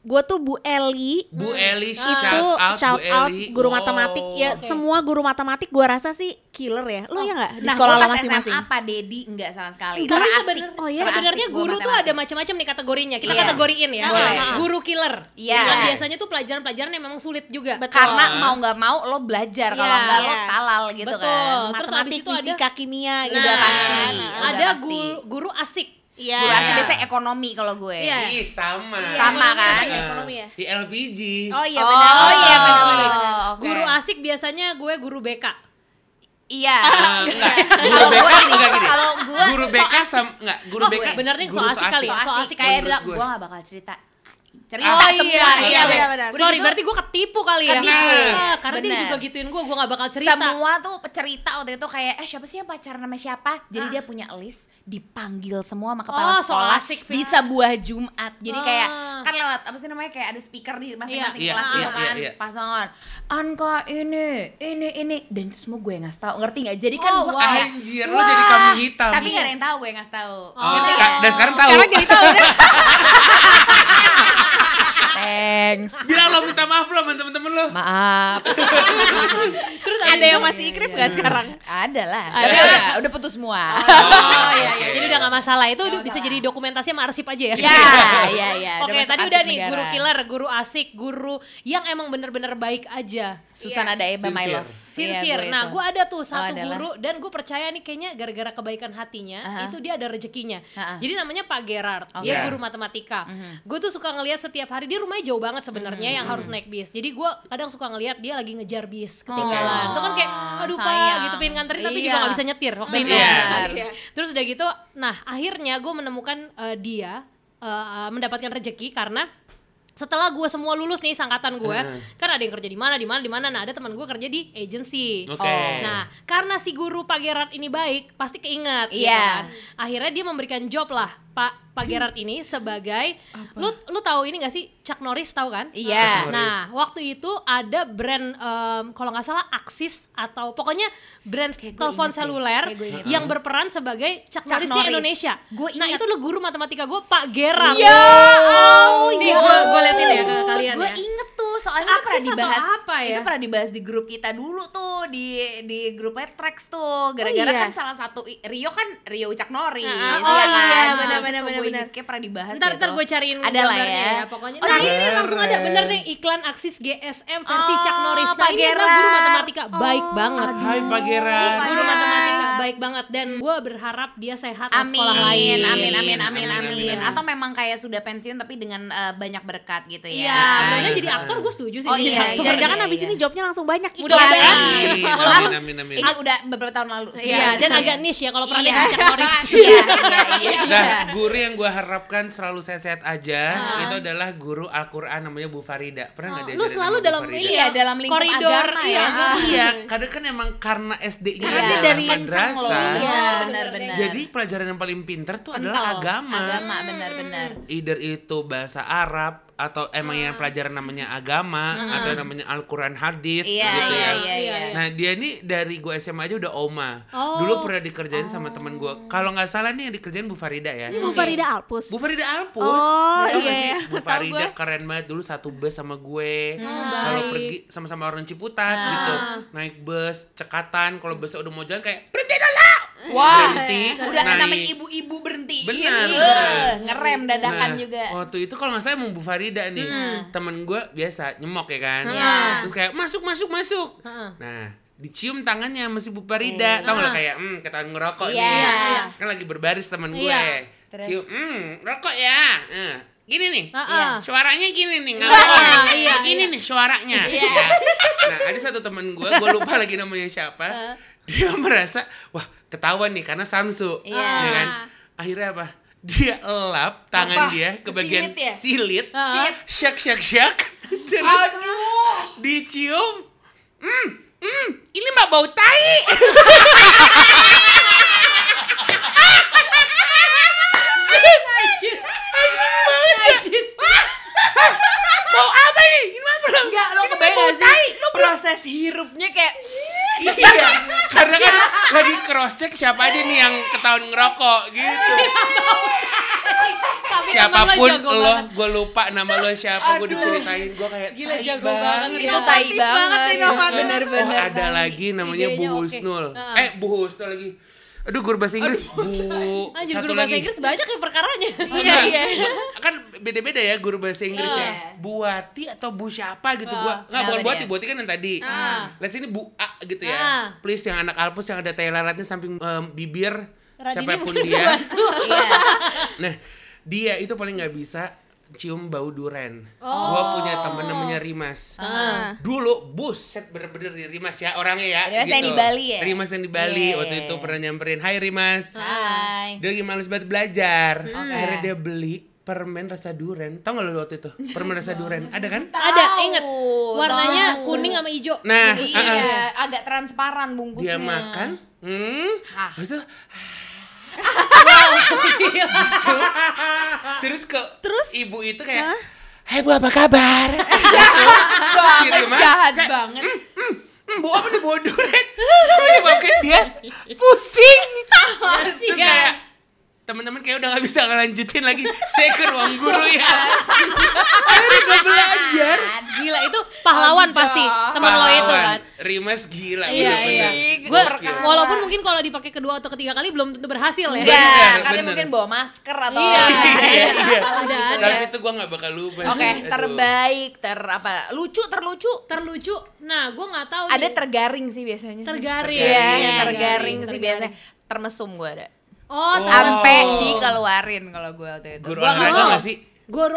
gue tuh Bu Eli Bu Eli itu shout out, shout Bu out Eli. guru Wow. matematik ya Oke. semua guru matematik gue rasa sih killer ya lo ya nggak di Nah, sekolah gua lo pas masing-masing SMA Pak Dedi enggak sama sekali. Enggak, Terasik. sebener- oh iya. terasik Sebenarnya gua guru tuh matematika. ada macam-macam nih kategorinya. Kita Iya. kategoriin ya. Boleh. Guru killer. Iya. Yang biasanya tuh pelajaran-pelajaran yang memang sulit juga. karena mau nggak mau lo belajar kalau Iya. nggak lo Iya. talal gitu Betul. kan. Terus abis matematik itu ada- fisika kimia gitu Udah kan. pasti. Nah, Ada pasti. guru guru asik. iya Guru asli Iya. biasanya ekonomi kalau gue. Iya. Ih, sama. Sama kan? Ekonomi ya, ekonomi ya. Di LPG. oh iya benar oh iya benar benar, benar. oh, oke. Guru asik biasanya gue guru BK. Iya. Eh, enggak. Guru Kalau BK gue ini, enggak gini. kalau gue Guru BK sama enggak, guru Oh, BK. bener nih, so guru asik kali. so so asik asik kayak menurut bilang gue. gue gak bakal cerita. Cerita Oh, iya, semua iya, gitu. benar, benar. Udah Sorry, gitu, berarti gue ketipu kali ya. Ketipu. Ah, karena dia Bener. juga gituin gue, gue gak bakal cerita. Semua tuh cerita waktu itu kayak eh siapa sih yang pacaran sama siapa? Jadi dia punya list dipanggil semua sama kepala Oh, so sekolah asik, di Fis. sebuah Jumat. Jadi kayak Ah. kan lewat apa sih namanya kayak ada speaker di masing-masing Iya, kelas iya, iya, gitu kan. iya. Pasangan angka ini, ini, ini dan itu semua gue yang ngasih tahu. Ngerti nggak? Jadi kan Oh, gue wow. kayak Anjir, lo jadi kambing hitam. Tapi gak ada yang tahu gue yang ngasih tahu. Oh, Ngerti seka- nggak? dan sekarang tahu. sekarang jadi tahu udah. Thanks. Bilang lo minta maaf lo sama temen-temen lo. Maaf. terus ada yang masih ikrip nggak sekarang Ada lah. Ada. Tapi udah, udah putus semua. Oh, Iya, iya. oke. Jadi udah gak masalah. Itu Nggak bisa masalah. jadi dokumentasi sama arsip aja ya. Ya, ya, ya. Oke, masuk tadi arsip udah nih negara. guru killer, guru asik, guru yang emang bener-bener baik aja. Susana Daeba My Sincere. Love. Iya, Sincere. gue nah, itu. Oh, gue ada tuh satu adalah. guru dan gue percaya nih kayaknya gara-gara kebaikan hatinya Aha. itu dia ada rezekinya. Ha-ha. Jadi namanya Pak Gerard, Uh-huh. Oke. Uh-huh. dia guru matematika. Gue tuh suka ngelihat setiap hari dia rumahnya jauh banget sebenarnya yang harus Uh-huh. naik bis. Jadi gue kadang suka ngelihat dia lagi ngejar bis ketinggalan. Itu kan kayak aduh Pak Oh, sayang. gitu pengen nganterin tapi Iya. juga gak bisa nyetir waktu itu. Benar. Iya. Terus udah gitu, nah akhirnya gue menemukan eh, dia eh, mendapatkan rezeki karena setelah gue semua lulus nih sangkatan gue, kan ada yang kerja di mana, di mana, di mana. Nah ada teman gue kerja di agency. Oke. Nah karena si guru Pak Gerard ini baik, pasti keinget. gitu Iya. kan. Akhirnya dia memberikan job lah Pak Pak Gerard ini sebagai lu lu tahu ini gak sih Chuck Norris tahu kan? Iya. Chuck Norris. Nah waktu itu ada brand em, kalau nggak salah Axis atau pokoknya brand Kayak gue telepon inget deh. seluler Kayak gue inget. yang berperan sebagai Chuck, Chuck Norrisnya Norris. Indonesia. Gue nah inget. itu lu guru matematika gue Pak Gerard. Ya Nih gue gue liatin ya ke kalian Gue ya. inget tuh, soalnya itu Akses pernah atau dibahas apa ya? Itu pernah dibahas di grup kita dulu tuh Di di grupnya Trax Oh tuh Gara-gara iya. kan salah satu i- Rio kan Rio Ucak Nori Ah, kan? oh iya, Nah, benar, itu benar, gue benar, inget benar. kayak pernah dibahas Ntar deh ntar tuh. gue cariin gitu. Ada lah gambarnya ya. pokoknya. Oh, nah, jadi- ini, ini langsung ada bener nih iklan Axis GSM versi Oh, Chuck Norris. Nah, Pak ini adalah guru Gerard. Oh, matematika baik banget. Hai Pak Ini Gerard. guru matematika baik banget dan gue berharap dia sehat di sekolah lain. Amin, amin, amin, Amin, amin, amin, amin. amin. Atau memang kayak sudah pensiun tapi dengan eh, banyak berkat gitu ya. Iya, benernya jadi aktor gue setuju sih. Oh, jadi iya, iya, aktor. jangan-jangan iya, abis iya. ini jobnya langsung banyak kan? iya. Mudah-mudahan. Iklan. Amin, amin, amin, amin. Ini udah beberapa tahun lalu. Iya, dan agak niche ya kalau perannya Chuck Norris. Iya, iya, iya. Ah. Nah, guru yang gue harapkan selalu sehat-sehat aja itu adalah guru Al-Qur'an namanya Bu Farida. Pernah nggak Oh, dia? lu selalu dalam ya, Iya, dalam lingkup koridor agama iya. ya. Iya, kadang kan emang karena SD-nya Karena dia adalah dari- Kencang loh, iya, madrasah, Iya, benar, benar, benar. Jadi pelajaran yang paling pinter tuh Kental. adalah agama. Agama, benar, benar. Either itu bahasa Arab atau emang Ah. yang pelajaran namanya agama atau namanya Al-Qur'an hadis Iya, gitu iya, ya. iya, iya. Nah dia ini dari gue SMA aja udah oma. Oh. Dulu pernah dikerjain sama temen gue. Oh. Kalau nggak salah nih yang dikerjain Bu Farida ya. Hmm, Bu Farida Alpus Bu Farida Alpus. Oh, Tau nggak iya, sih? iya. Bu Tahu Farida gue. keren banget dulu satu bus sama gue. baik. Kalau pergi sama-sama orang Ciputat gitu. Naik bus, cekatan. Kalau busnya udah mau jalan kayak berhenti dulu. Hmm. Wah, Berhenti. udah naik. namanya ibu-ibu berhentiin. Benar, Eh, benar. ngerem dadakan Nah, juga. Hmm. Waktu itu kalau nggak salah emang Bu Farida nih. Nah. Temen gue biasa nyemok ya kan. Iya. Terus kayak masuk, masuk, masuk. Heeh. Nah dicium tangannya masih Bu Farida. Tau nggak lo kayak hmm, ketahuan ngerokok Iya. nih. Kan lagi berbaris temen gue. Iya. Terus? Cium, hmm, rokok ya. Eh, Gini nih. Heeh. Iya. suaranya gini nih nggak Iya, bohong iya, gini nih suaranya Iya. Ya. nah ada satu teman gue gue lupa lagi namanya siapa dia merasa wah ketahuan nih karena samsu Iya. ya kan akhirnya apa dia elap tangan Apa? dia ke bagian Silit ya? silit Shit. syak syak syak Terus Aduh. dicium hmm hmm ini mbak bau tai bau apa nih ini mah belum Enggak, lo Ini mah kebayang bau gak sih? Proses hirupnya kayak Iya, karena kan lagi cross check siapa aja nih yang ketahuan ngerokok gitu. Tapi Siapapun temen jago lo, banget. gue lupa nama lo siapa, gue Aduh. diceritain gue kayak Gila, "Tai jago banget. Iya, Itu tai Inovatif banget, iya. banget, Eh, inovatif. bener-bener. Oh, ada lagi namanya Bu Idenya oke. Husnul. Heeh. Eh, Bu Husnul lagi. Aduh, guru bahasa Inggris. Bu. Anjir satu guru bahasa Inggris banyak ya perkaranya. Iya, iya. Kan beda-beda ya guru bahasa Inggris Iya. ya. Buati atau Bu siapa gitu gua. Ah. Enggak bukan Kenapa Buati, dia? Buati kan yang tadi. Ah. Let's ini Bu A gitu Ah. ya. Please yang anak alpus yang ada tai lalatnya samping em, bibir Radini siapapun mungkin dia. Iya. Nah, dia itu paling nggak bisa cium bau duren. Oh. Gua punya temen namanya Rimas. Ah. Dulu buset bener-bener nih Rimas ya orangnya ya. Rimas yang di Bali ya? Rimas yang di Bali Iya, waktu iya, itu iya. pernah nyamperin. Hai Rimas. Hai. Dia lagi males banget belajar. Oke. Akhirnya dia beli permen rasa duren. Tau gak lu waktu itu? Permen rasa duren. Ada kan? Ada, Tahu, inget. Warnanya tahu. kuning sama hijau. Nah, ah, ah. Iya, agak transparan bungkusnya. dia makan. Hmm. Hah. Habis itu Iya. terus ke Terus? ibu itu kayak Hai bu apa kabar? Si Rima, jahat banget. ah. "Hmm, bu apa nih bawa duren? Menyebabkan dia pusing. Terus Iya. Tiga. kayak teman-teman kayak udah nggak bisa ngelanjutin lagi. Saya ke ruang guru ya. Iya. Akhirnya gue belajar. Gila itu pahlawan Anjay. pasti teman lo itu Pahlawan. kan. Rimas gila. Iya, bener-bener. iya. Gue Gokil. walaupun mungkin kalau dipakai kedua atau ketiga kali belum tentu berhasil ya. Enggak, Bener, Iya, karena bener. mungkin bawa masker atau Iya. Iya, iya. Ada, ada. Tapi itu gue nggak bakal lupa. Oke, sih. Aduh. terbaik, ter apa? Lucu, terlucu. Terlucu. Nah, gue nggak tahu. Ada nih. tergaring sih biasanya. tergaring. Iya, Iya, tergaring sih tergaring. biasanya. Termesum gue ada. Oh. Oh, Sampai Oh. dikeluarin kalau gue waktu itu. Guru Gua nggak olahraga mau. nggak sih? Guru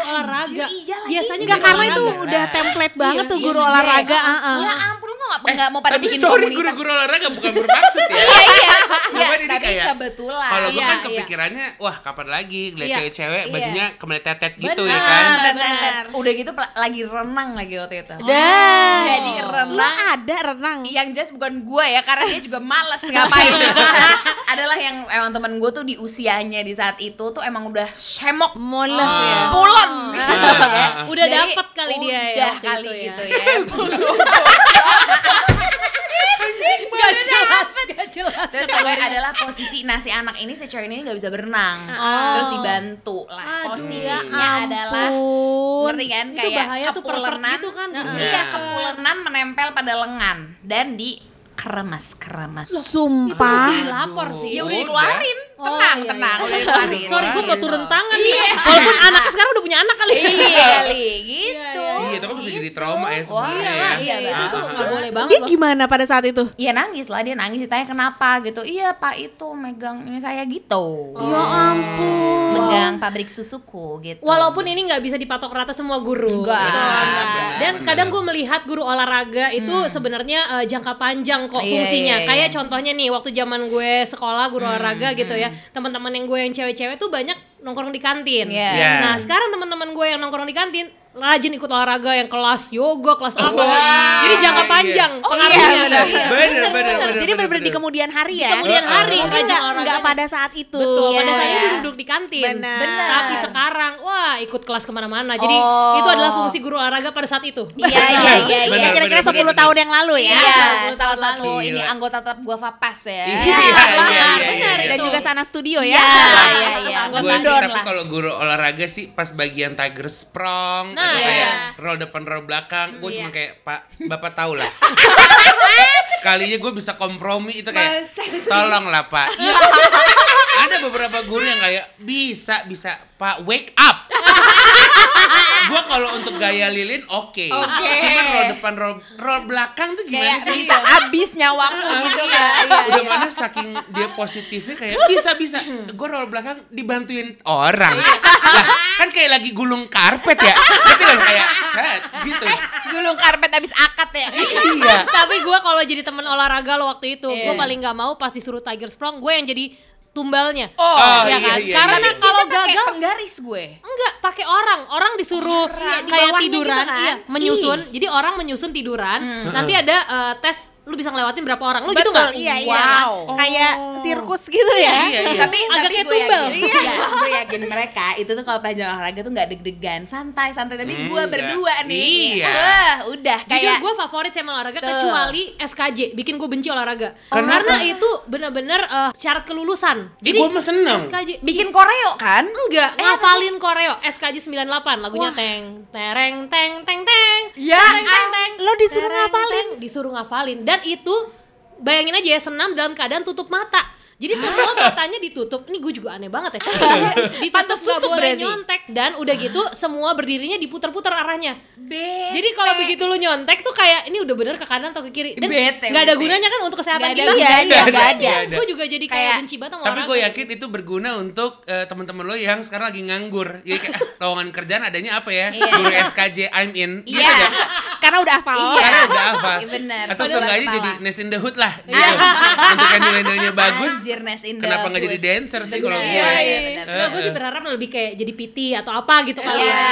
Anjir, olahraga. iya lagi. Biasanya Enggak guru karena itu olahraga. udah template banget Iya, tuh Iya, guru sendiri. olahraga. heeh. Ya ampun, lu nggak Eh, nggak mau pada tapi bikin sorry komunitas. guru-guru olahraga bukan bermaksud ya. Iya, iya. Cuma Ya, ini tapi kayak, kebetulan. Kalau gue Iya, kan iya. kepikirannya, wah kapan lagi ngeliat Iya. cewek-cewek Iya. bajunya kemeletetet gitu ya Benar. kan. Ah, Benar, benar. benar. Udah gitu pel- lagi renang lagi waktu itu. Dah. Jadi Lu renang Iya. ada renang. yang jelas bukan gue ya karena dia juga males ngapain adalah yang emang temen gue tuh di usianya di saat itu tuh emang udah semok Molah ya. pulon Iya. Udah Jadi, dapet kali dia ya udah waktu kali itu ya. gitu ya Gak jelas, gak jelas. terus gue adalah posisi nasi anak ini si cewek ini nggak bisa berenang Oh. terus dibantu lah Aduh, posisinya Ya adalah ampun. ngerti kan Itu kayak bahaya tuh pervert kepulenan gitu kan. Mm, Nah. iya kepulenan menempel pada lengan dan di keremas keremas Sumpah. Mesti dilapor sih. ya Iya, udah udah. dikeluarin Oh, tenang iya, tenang iya. udah dikeluarin Sorry, gue mau Gitu. turun tangan. Iya. nih. Walaupun anaknya sekarang udah punya anak kali. iya kali gitu Iya, Iya, itu kan bisa jadi trauma ya sebenarnya Wah, ya. Iya, iya, itu tuh Ah, gak ah, boleh Dia banget loh. gimana pada saat itu? Iya nangis lah dia nangis ditanya kenapa gitu iya pak itu megang ini saya gitu Oh. Ya ampun. megang pabrik susuku gitu Walaupun ini nggak bisa dipatok rata semua guru. Nggak. Betul, nggak. Benar, Dan benar. kadang gue melihat guru olahraga itu sebenarnya eh, jangka panjang kok Hmm. Iya, fungsinya. iya, Hmm, iya. Kayak contohnya nih waktu zaman gue sekolah guru olahraga gitu ya. Teman-teman yang gue yang cewek-cewek tuh banyak nongkrong di kantin. Iya. Iya. Nah, Kan. sekarang teman-teman gue yang nongkrong di kantin rajin ikut olahraga yang kelas yoga, kelas apa. Wah, iya, Jadi jangka iya. panjang Oh, iya, pengaruhnya. benar. Iya, Bener, bener, bener. Jadi benar-benar di kemudian hari ya. Kemudian Iya. hari Mungkin rajin nggak olahraga. nggak pada saat itu. Betul, pada saat itu Iya. duduk di kantin. Benar. Benar. Tapi sekarang, wah ikut kelas kemana-mana. Jadi Oh. itu adalah fungsi guru olahraga pada saat itu. iya iya iya Benar, iya benar, Kira-kira benar, 10 benar. tahun yang lalu ya. Iya, Iya, salah tahun satu lalu. ini Gila. anggota tetap gua Fapas ya. Iya, iya, iya, benar. iya. Dan juga sana studio ya. Iya, iya, iya. Anggota Gue sih Don tapi lah. kalau guru olahraga sih pas bagian Tiger Sprong Nah, atau iya. kayak roll depan roll belakang gue Hmm, cuma iya. kayak Pak Bapak tahu lah sekalinya gue bisa kompromi itu kayak Masa sih? tolonglah Pak Iya. ada beberapa guru yang kayak bisa bisa Pak wake up gue kalau untuk gaya lilin oke Oke. cuman roll depan roll, roll belakang tuh gimana Kayak sih bisa abis nyawaku gitu Iya. kan. udah mana saking dia positifnya kayak bisa bisa gue roll belakang dibantuin orang Iya. lah kan kayak lagi gulung karpet ya gitu loh kayak set gitu Gulung karpet abis akad ya. iya Tapi gue kalau jadi temen olahraga lo waktu itu, Iya. gue paling nggak mau pas disuruh Tiger Sprong, gue yang jadi tumbalnya. Oh, Oh, iya, ya kan? iya, Karena iya. kalau Bisa pakai gagal penggaris gue. enggak pakai orang, orang disuruh Orang, di kayak bawahnya tiduran, gitu kan? Hmm. iya, menyusun. Jadi orang menyusun tiduran, nanti ada eh, tes lu bisa ngelewatin berapa orang lu gitu Betul, nggak iya, iya. Wow. Kayak Oh. sirkus gitu ya. Iya, iya. tapi Agak tapi kayak gue tumbal. yakin iya, gue yakin mereka itu tuh kalau pelajaran olahraga tuh nggak deg-degan santai santai tapi Hmm, gue nggak. berdua nih Iya. wah udah Jujur kayak gue favorit sama olahraga Tuh. kecuali SKJ bikin gue benci olahraga Kenapa? karena itu bener-bener eh, syarat kelulusan Ih, gue mah seneng. SKJ bikin koreo kan enggak ngafalin koreo SKJ 98 lagunya teng tereng teng teng teng Ya, tereng, teng, teng, lo disuruh tereng, ngafalin. teng. disuruh ngafalin dan itu bayangin aja ya senam dalam keadaan tutup mata jadi semua matanya ditutup. Ini gue juga aneh banget ya. ditutup Pantes nggak tutup boleh berarti. nyontek dan udah gitu semua berdirinya diputer-puter arahnya. bete Jadi kalau begitu lu nyontek tuh kayak ini udah bener ke kanan atau ke kiri dan Bete, nggak ada bete. gunanya kan untuk Nggak kesehatan ada kita. gunanya, Iya, nggak ada. makanya Gue juga jadi kayak Kayak- benci banget sama Tapi ya- orang. gue yakin itu berguna untuk eh, teman-teman lo yang sekarang lagi nganggur. Ya kayak, "Ah, lowongan kerjaan adanya apa ya? Iya. Guru SKJ I'm in. Gitu Iya. aja. Karena udah hafal. Iya. Karena udah apa? Iya, bener. Atau Padahal seenggaknya kepala. jadi Nes in the Hood lah. Gitu. Ah. Untuk handle-handlenya bagus. Anjir, Nes in the Kenapa nggak jadi hood. dancer sih kalau Bener. gue? Iya, iya, benar, Nah, gue sih berharap lebih kayak jadi PT atau apa gitu kali Iya, ya. iya,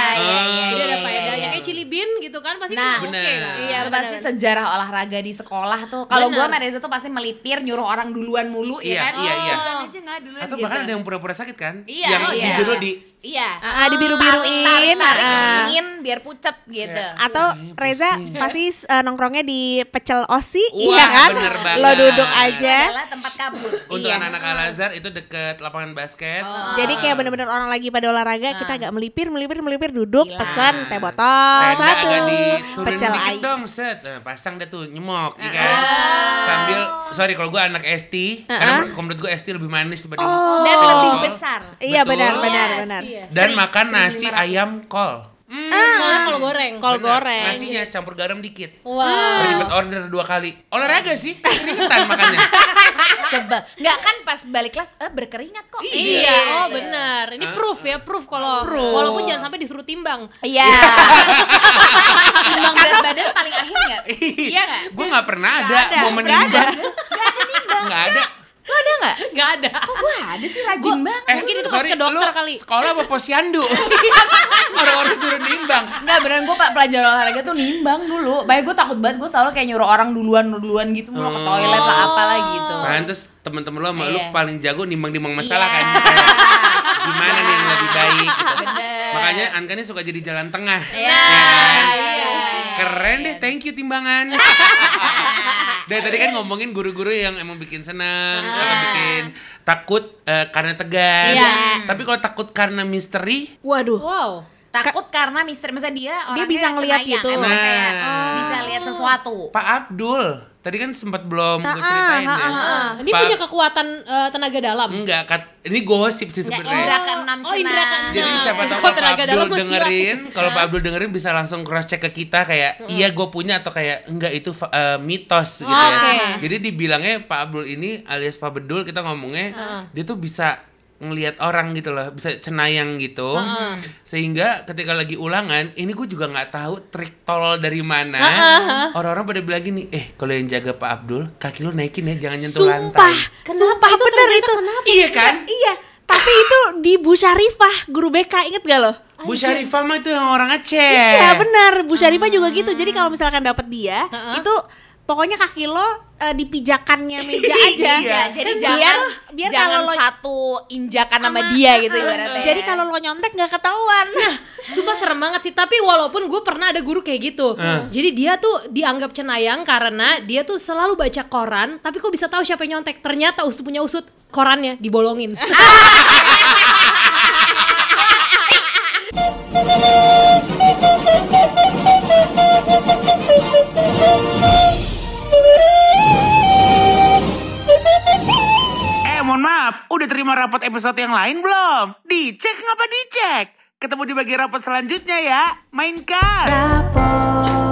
iya, Jadi ada iya, faedahnya iya. kayak Chili Bean gitu kan pasti Nah, kan oke Bener. lah. Iya, itu bener. pasti sejarah olahraga di sekolah tuh. Kalau Bener. gue sama Reza tuh pasti melipir nyuruh orang duluan mulu Iya, ya kan. iya, Oh. iya. Duluan aja nggak duluan Atau gitu. bahkan ada yang pura-pura sakit kan? Iya, yang iya. tidur lo di Iya. Ah, ah, dibiru-biruin. Tarik, tarik, ah. dingin biar pucet gitu. Atau Iya, Reza pusing. pasti eh, nongkrongnya di pecel osi, Wah, iya kan? bener banget. Lo duduk Iya. Itu aja. adalah tempat kabur. untuk Iya. anak-anak Al Azhar itu deket lapangan basket. Oh. Jadi kayak bener-bener orang lagi pada olahraga, kita agak melipir, melipir, melipir, duduk, Gila. pesen teh botol Ah. Tenda satu, agak diturunin pecel dikit air. dong, set. Nah, pasang deh tuh nyemok, ya kan? Sambil, sorry kalau gue anak ST, karena Uh-uh. menurut- kalau menurut gue ST lebih manis dibanding. Oh. Dan lebih Oh. besar. Iya Betul. benar, benar, Yes, benar. Iya. Dan Seri- makan nasi 1.500. ayam kol. Mm, Malah kalau goreng. Kol bener. goreng. Nasinya campur garam dikit. Ah, Wow. Ribet order dua kali. Olahraga sih, keringetan makannya. Sebel. Nggak kan pas balik kelas, eh berkeringat kok. Iya, oh Gitu. benar. Ini proof ya, proof kalau Proof. walaupun jangan sampai disuruh timbang. Iya. Imbang berat badan paling akhir nggak? Iya nggak? Gue gak pernah ada ada, momen nggak ada. nimbang. Gak ada. Lo ada nggak? Nggak ada. Wah ada sih rajin banget. Eh, Mungkin itu pas sorry, ke dokter lu kali. Sekolah apa posyandu? Orang-orang suruh nimbang. Enggak beneran gue pak pelajaran olahraga tuh nimbang dulu. Baik gue takut banget gue selalu kayak nyuruh orang duluan duluan gitu mulu ke toilet lah apalah gitu. Pantes temen-temen lo sama lu Iya. paling jago nimbang-nimbang masalah Iya. kan. Gimana nih yang lebih baik gitu. Bener. Makanya Anka ini suka jadi jalan tengah. kan? Iya. iya. Keren deh, thank you timbangan. Dari tadi kan ngomongin guru-guru yang emang bikin senang, Ah. atau bikin takut eh, karena tegas. Iya. Tapi kalau takut karena misteri, Waduh. Wow. Takut karena misteri, maksudnya dia orangnya bisa ngeliat cenayang, gitu. emang kayak Nah. bisa lihat sesuatu. Pak Abdul, tadi kan sempat belum Ah, gue ceritain ah, ya. ah, ah. Ini Pak- punya kekuatan eh, tenaga dalam. Enggak, kat- ini gosip sih Nggak sebenarnya. Indra keenam Oh, Indra keenam. Jadi siapa tahu Kalau kalau tenaga Pak dalam Abdul masih dengerin, kalau Pak Abdul dengerin bisa langsung cross check ke kita kayak iya gue punya atau kayak enggak itu fa- eh, mitos gitu ya. Oke. Jadi dibilangnya Pak Abdul ini alias Pak Bedul kita ngomongnya dia tuh bisa ngelihat orang gitu loh, bisa cenayang gitu. Sehingga ketika lagi ulangan, ini gue juga nggak tahu trik tolol dari mana. Orang-orang pada bilang gini, "Eh, kalau yang jaga Pak Abdul, kaki lu naikin ya, jangan nyentuh Sumpah, lantai." Kenapa sumpah itu bener ternyata itu. kenapa? Iya kan? Iya, tapi itu di Bu Syarifah, guru BK, inget gak lo? Bu Syarifah mah itu yang orang Aceh. Eh. Iya bener, Bu Syarifah Hmm. juga gitu. Jadi kalau misalkan dapet dia, itu pokoknya kaki lo eh, di pijakannya meja aja. Iya, jadi Kan Biar- jangan biar jangan kalau lo- satu injakan sama dia gitu ibaratnya. Nah. Jadi kalau lo nyontek nggak ketahuan. Sumpah serem banget sih, tapi walaupun gue pernah ada guru kayak gitu. Jadi dia tuh dianggap cenayang karena dia tuh selalu baca koran, tapi kok bisa tahu siapa yang nyontek? Ternyata usut punya usut korannya dibolongin. Eh, mohon maaf, udah terima rapot episode yang lain belum? Dicek ngapa dicek? Ketemu di bagian rapot selanjutnya ya. Mainkan. Rapor.